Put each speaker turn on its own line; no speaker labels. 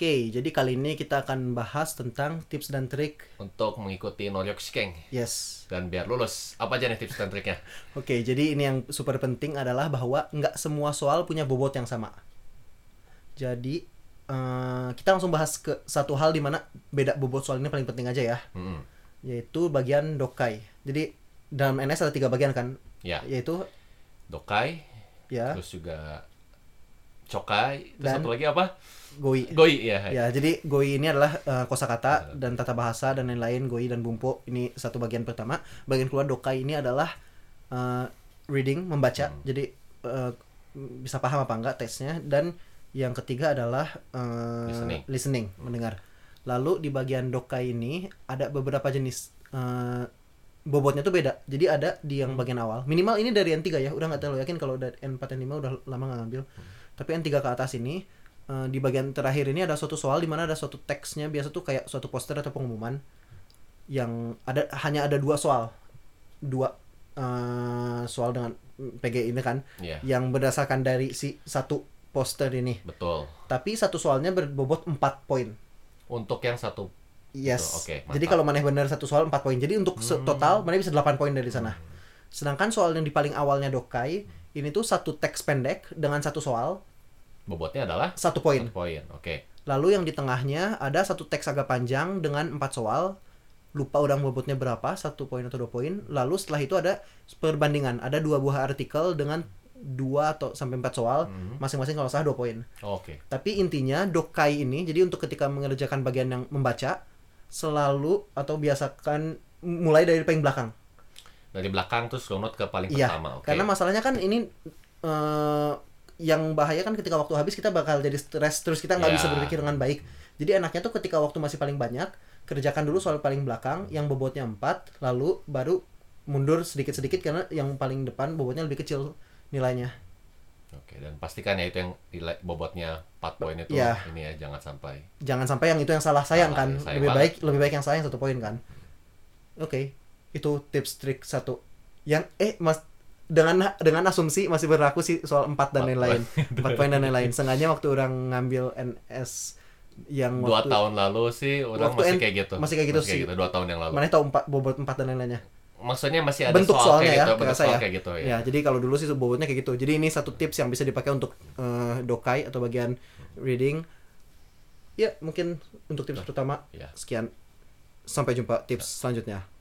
jadi kali ini kita akan bahas tentang tips dan trik.
untuk mengikuti Noryokushikeng
Yes.
dan biar lulus. Apa aja nih tips dan triknya?
Oke, jadi ini yang super penting adalah bahwa nggak semua soal punya bobot yang sama. Jadi eh, kita langsung bahas ke satu hal di mana beda bobot soal ini paling penting aja ya,
Mm-mm.
yaitu bagian dokai. Jadi dalam NS ada tiga bagian kan,
Ya,
yaitu
dokai,
ya
terus juga cokai, terus
Dan-
satu lagi apa?
goi.
Goi ya.
Ya, jadi goi ini adalah eh, kosakata dan tata bahasa dan lain-lain goi dan bumpo. Ini satu bagian pertama. Bagian kedua dokai ini adalah eh, reading, membaca. Jadi eh, bisa paham apa enggak tesnya dan yang ketiga adalah eh,
Listening.
mendengar. Lalu di bagian dokai ini ada beberapa jenis eh, bobotnya tuh beda. Jadi ada di yang bagian awal. Minimal ini dari N3 ya. Udah nggak terlalu yakin kalau udah N4 N5 udah lama nggak ngambil. Tapi N3 ke atas ini eh, di bagian terakhir ini ada suatu soal di mana ada suatu teksnya biasa tuh kayak suatu poster atau pengumuman yang ada hanya ada dua soal. Dua eh, soal dengan PG ini kan
Iya.
yang berdasarkan dari si satu poster ini.
Betul.
Tapi satu soalnya berbobot 4 poin.
Untuk yang satu
Yes.
Betul, oke,
Jadi
mantap. Hmm.
kalau maneh benar satu soal 4 poin. Jadi untuk se- total maneh bisa 8 poin dari sana. Sedangkan soal yang di paling awalnya dokai ini tuh satu teks pendek dengan satu soal
bobotnya adalah
satu
satu
poin.
poin. Oke.
Lalu yang di tengahnya ada satu teks agak panjang dengan empat soal. Lupa udah bobotnya berapa, satu poin atau dua poin. Lalu setelah itu ada perbandingan. Ada dua buah artikel dengan dua atau sampai empat soal, masing-masing kalau salah dua poin.
Mm-hmm. Oke.
Tapi intinya dokai ini jadi untuk ketika mengerjakan bagian yang membaca selalu atau biasakan mulai dari paling belakang.
Dari belakang terus download ke paling
Iya.
pertama. Oke.
Karena masalahnya kan ini eh, yang bahaya kan ketika waktu habis kita bakal jadi stres terus kita nggak
Ya.
bisa berpikir dengan baik. Jadi enaknya tuh ketika waktu masih paling banyak kerjakan dulu soal paling belakang yang bobotnya 4 lalu baru mundur sedikit-sedikit karena yang paling depan bobotnya lebih kecil nilainya.
Oke, dan pastikan ya itu yang nilai bobotnya 4 poin itu
Iya.
ini ya jangan sampai.
jangan sampai yang itu yang salah sayang
Salah,
kan
yang sayang
lebih
banget.
baik lebih baik yang sayang satu poin kan oke itu tips trik satu yang eh mas dengan dengan asumsi masih berlaku sih soal empat dan
Empat
lain-lain empat poin dan lain-lain sengaja waktu orang ngambil NS yang
Dua
waktu
tahun lalu sih orang
waktu
masih
en-
kayak gitu.
masih kayak gitu sih.
dua tahun yang lalu.
mana tahu empat bobot empat dan lain-lainnya
Maksudnya masih ada
bentuk
soal
soalnya ya
kayak gitu, bentuk
kerasa
soal
ya.
kayak gitu ya.
ya jadi kalau dulu sih bobotnya kayak gitu jadi ini satu tips yang bisa dipakai untuk eh, dokai atau bagian reading ya mungkin untuk tips pertama
Ya.
sekian sampai jumpa tips selanjutnya